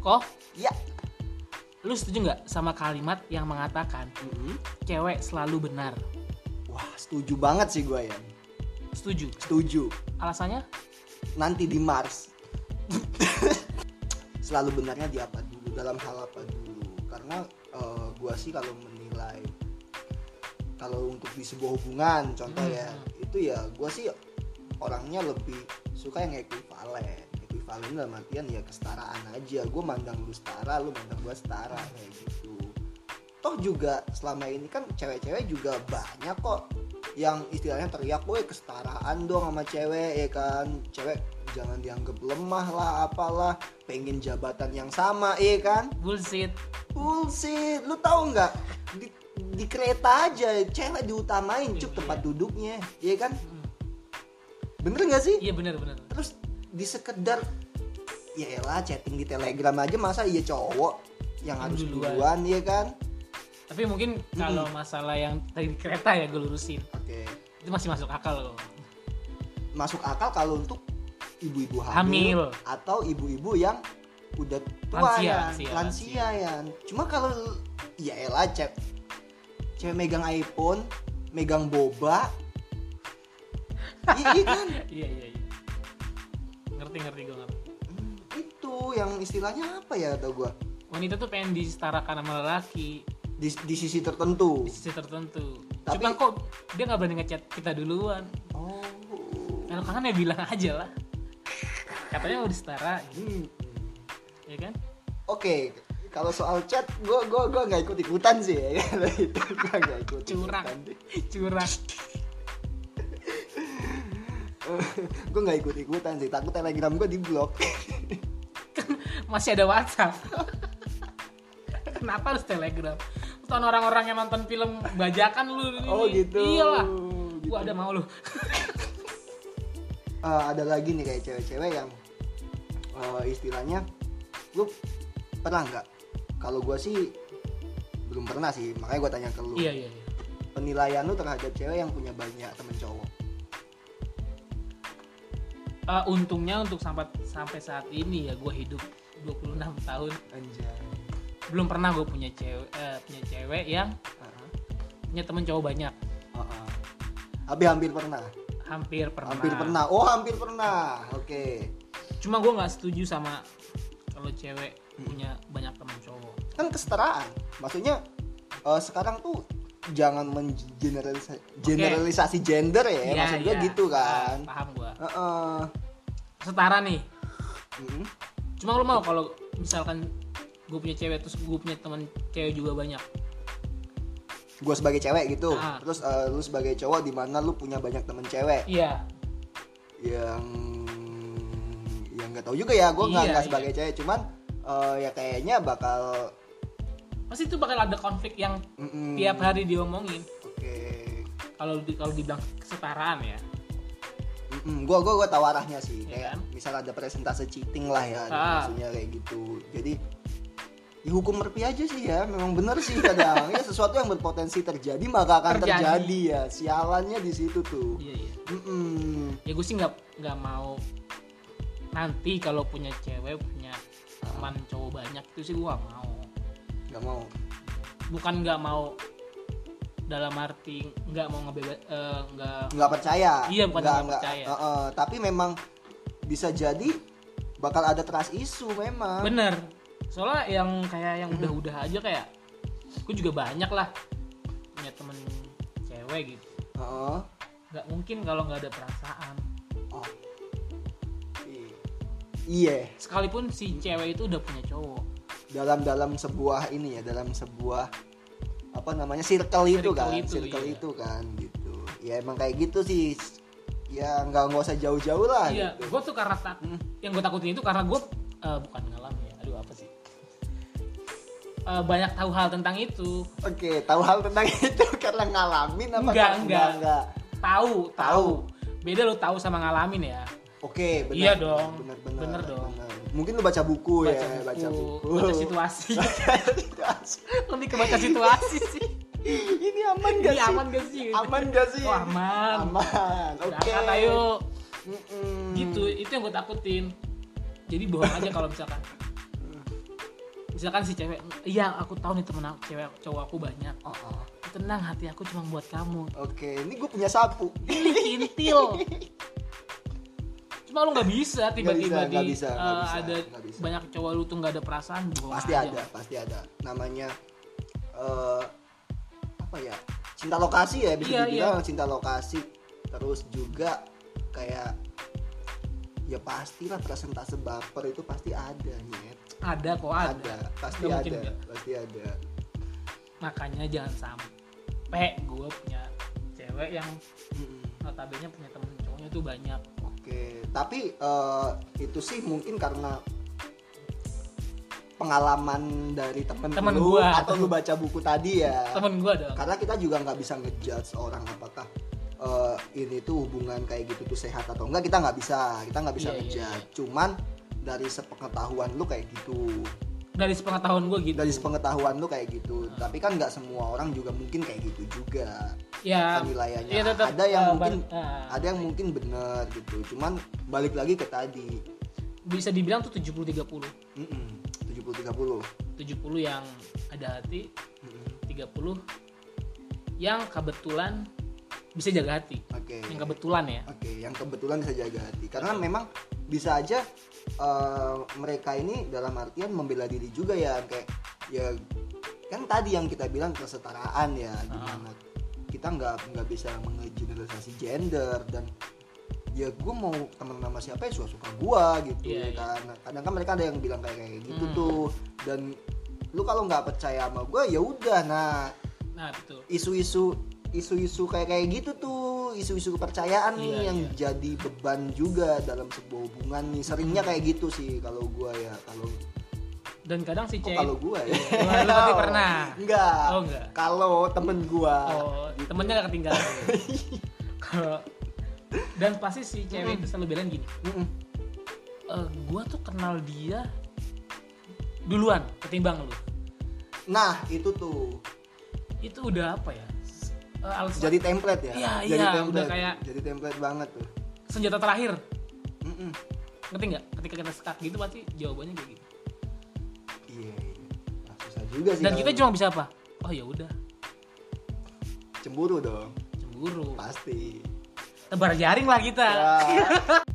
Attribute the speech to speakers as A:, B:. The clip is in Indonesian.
A: Koh,
B: Iya.
A: lu setuju nggak sama kalimat yang mengatakan
B: Mm-mm.
A: cewek selalu benar?
B: Wah, setuju banget sih gue ya.
A: Setuju.
B: Setuju.
A: Alasannya?
B: Nanti di Mars. Selalu benarnya di apa dulu, dalam hal apa dulu. Karena eh, gua sih kalau menilai kalau untuk di sebuah hubungan contoh ya itu ya gua sih orangnya lebih suka yang ekuivalen ekuivalen dalam artian ya kesetaraan aja gue mandang lu setara lu mandang gua setara kayak gitu toh juga selama ini kan cewek-cewek juga banyak kok yang istilahnya teriak woi kesetaraan dong sama cewek ya kan cewek jangan dianggap lemah lah apalah pengen jabatan yang sama ya kan
A: Bullshit.
B: Bullshit, lu tahu nggak? Di, di kereta aja cewek diutamain cuk tempat duduknya, iya kan?
A: Hmm.
B: Bener nggak sih?
A: Iya benar benar.
B: Terus di sekedar ya elah chatting di Telegram aja masa iya cowok yang harus
A: Duluan.
B: duluan, iya kan?
A: Tapi mungkin kalau masalah yang tadi di kereta ya gue lurusin.
B: Oke.
A: Itu masih masuk akal loh.
B: Masuk akal kalau untuk ibu-ibu hamil,
A: Hamil.
B: atau ibu-ibu yang udah tua
A: Lansia,
B: ya,
A: lansia,
B: lansia ya. Cuma kalau ya elah cewek cewek megang iPhone, megang boba, iya iya kan?
A: Iya iya iya. Ngerti ngerti gue ngerti.
B: Hmm, itu yang istilahnya apa ya tau gua
A: Wanita tuh pengen disetarakan sama lelaki
B: di, di sisi tertentu
A: di sisi tertentu.
B: Tapi-
A: Cuma kok dia nggak berani ngechat kita duluan.
B: oh
A: Kalau kangen ya bilang aja lah. Katanya udah setara,
B: Hmm.
A: ya kan?
B: oke kalau soal chat gua gua gua nggak ikut ikutan sih ya Kalau itu gua nggak ikut
A: Curang.
B: ikutan
A: Curang.
B: gua nggak ikut ikutan sih takut telegram gua di blok
A: masih ada WhatsApp. Kenapa harus Telegram? Tahun orang-orang yang nonton film bajakan lu ini.
B: oh gitu
A: Iyalah.
B: Gitu.
A: Gua ada mau lu.
B: Eh, ada lagi nih kayak cewek-cewek yang eh, istilahnya lu pernah nggak kalau gua sih belum pernah sih makanya gua tanya ke lu
A: iya, iya, iya.
B: penilaian lu terhadap cewek yang punya banyak temen cowok
A: Eh, untungnya untuk sampai sampai saat ini ya gua hidup 26 tahun
B: anjay
A: belum pernah gue punya cewek eh, punya cewek yang
B: Heeh.
A: punya temen cowok banyak
B: Heeh. Abi hampir pernah.
A: hampir pernah
B: Hampir pernah. Oh, hampir pernah. Oke.
A: cuma gua nggak setuju sama kalau cewek punya
B: Hmm.
A: banyak temen cowok
B: Kan kesetaraan. Maksudnya eh, sekarang tuh jangan mengeneralisasi generalisasi gender ya.
A: Iya,
B: Maksud gue
A: iya.
B: gitu kan.
A: Ah, paham gua
B: Heeh. Hmm.
A: setara nih
B: Mm-mm.
A: Cuma lu mau kalau misalkan gue punya cewek terus gue punya teman cewek juga banyak.
B: Gue sebagai cewek gitu.
A: Ah.
B: Terus eh, lu sebagai cowok di mana lu punya banyak temen cewek
A: Iya.
B: yang yang nggak tahu juga ya. Gue nggak
A: Iya,
B: nggak
A: iya.
B: sebagai cewek. Cuman eh, ya kayaknya bakal
A: Pasti itu bakal ada konflik yang
B: Mm-mm.
A: tiap hari diomongin.
B: Oke.
A: Kalau di, kalau dibilang kesetaraan ya.
B: Mm, gua gua gua tahu arahnya sih.
A: Iya
B: kayak
A: kan?
B: misal ada presentase cheating lah ya,
A: Ah.
B: maksudnya kayak gitu. Jadi dihukum merpi aja sih ya. Memang benar sih kadang ya sesuatu yang berpotensi terjadi maka akan terjadi,
A: Terjadi.
B: ya. Sialannya di situ tuh.
A: Iya iya.
B: Mm-mm.
A: Ya gue sih nggak nggak mau nanti kalau punya cewek punya teman cowok banyak itu sih gue gak mau.
B: Nggak mau.
A: Bukan nggak mau dalam arti nggak mau ngebebas nggak
B: Nggak percaya.
A: Iya, bukan nggak percaya.
B: Heeh, tapi memang bisa jadi bakal ada trust isu memang.
A: Bener. Soalnya yang kayak yang udah-udah aja kayak gue juga banyak lah punya temen cewek gitu.
B: Heeh.
A: Gak mungkin kalau nggak ada perasaan.
B: Oh. Iya. Iya.
A: Sekalipun si cewek itu udah punya cowok.
B: dalam dalam sebuah ini ya dalam sebuah apa namanya circle
A: Circle
B: itu kan
A: itu,
B: circle
A: iya.
B: itu kan gitu ya emang kayak gitu sih ya nggak nggak usah jauh-jauh lah
A: iya,
B: gitu
A: gue tuh karena tak,
B: Hmm.
A: yang gue takutin itu karena gue eh, bukan ngalam ya. Aduh apa sih? Eh, banyak tahu hal tentang itu.
B: oke tahu hal tentang itu karena ngalamin apa
A: Enggak,
B: kan?
A: enggak.
B: enggak.
A: Tahu, tahu. Beda lu tahu sama ngalamin ya.
B: oke benar
A: Iya dong,
B: benar benar
A: bener dong.
B: mungkin lu baca buku
A: Baca
B: ya
A: buku,
B: baca buku
A: baca situasi.
B: Situasi.
A: Lebih ke baca situasi sih.
B: ini aman
A: Ini
B: gak sih
A: aman gak sih?
B: aman gak sih
A: Oh, aman.
B: aman oke
A: Berangkat ayo.
B: Mm-mm.
A: gitu itu yang gue takutin jadi bohong aja kalau misalkan misalkan si cewek iya aku tahu nih temen aku, cewek cowok aku banyak
B: Oh, oh.
A: tenang hati aku cuma buat kamu
B: Oke, ini gue punya sapu.
A: ini kintil cuma lu nggak bisa tiba-tiba
B: bisa,
A: di
B: nggak bisa, nggak
A: eh,
B: bisa,
A: ada
B: nggak bisa.
A: banyak cowok lu tuh nggak ada perasaan bohong
B: pasti
A: aja.
B: ada pasti ada namanya eh apa ya cinta lokasi ya
A: Iya,
B: bisa dibilang cinta lokasi terus juga kayak ya pastilah persentase baper itu pasti ada nyet
A: ada kok ada,
B: ada
A: Nggak
B: pasti ada
A: mungkin nggak.
B: pasti ada
A: makanya jangan sampai gue punya cewek yang
B: Mm-mm.
A: notabene punya temen cowoknya tuh banyak
B: oke tapi eh, itu sih mungkin karena pengalaman dari temen,
A: Temen
B: lu
A: gua.
B: atau lu baca buku tadi ya
A: temen gue dong
B: karena kita juga nggak bisa ngejudge orang apakah eh, ini tuh hubungan kayak gitu tuh sehat atau enggak kita nggak bisa kita nggak bisa
A: Iya, iya,
B: ngejudge cuman dari sepengetahuan lu kayak gitu
A: dari sepengetahuan gue gitu
B: dari sepengetahuan lu kayak gitu tapi kan nggak semua orang juga mungkin kayak gitu juga
A: ya
B: kan wilayahnya
A: ya tetap,
B: ada yang
A: eh,
B: mungkin
A: ban- eh,
B: ada yang mungkin bener gitu cuman balik lagi ke tadi
A: bisa dibilang tuh 70 30
B: tujuh puluh tiga puluh
A: 70 yang ada hati 30 yang kebetulan bisa jaga hati
B: oke
A: yang kebetulan ya
B: Oke, yang kebetulan bisa jaga hati. Karena memang bisa aja eh, mereka ini dalam artian membela diri juga ya kayak ya kan tadi yang kita bilang kesetaraan ya gimana kita nggak nggak bisa mengeneralisasi gender dan ya gue mau temen sama siapa ya suka suka gue gitu
A: Iya, iya.
B: ya kan kadang kan mereka ada yang bilang kayak kayak gitu
A: Hmm.
B: tuh dan lu kalau nggak percaya sama gue ya udah nah
A: nah betul
B: isu-isu isu-isu kayak kayak gitu tuh isu-isu kepercayaan nih
A: Iya,
B: yang jadi beban juga dalam sebuah hubungan nih seringnya kayak gitu sih kalau gua ya kalau
A: dan kadang si
B: kok
A: cewek
B: kalau gua ya
A: Wah, lu pasti pernah.
B: enggak
A: oh enggak
B: kalau temen gua
A: oh
B: gitu.
A: temennya gak ketinggalan kalau dan pasti si cewek
B: Hmm.
A: itu selalu bilang gini
B: Mm-mm.
A: Eh gue tuh kenal dia duluan ketimbang lu
B: nah itu tuh
A: itu udah apa ya S- eh, alasan
B: jadi template ya
A: Iya,
B: jadi
A: iya, udah
B: template
A: kayak-
B: jadi template banget tuh
A: senjata terakhir
B: Mm-mm.
A: ngerti nggak ketika kita sekat gitu pasti jawabannya kayak gitu
B: iya iya Nah, susah juga sih
A: dan
B: kalau
A: kita cuma bisa apa oh ya udah
B: cemburu dong
A: cemburu
B: pasti
A: Iya. tebar jaring lah kita
B: Ya.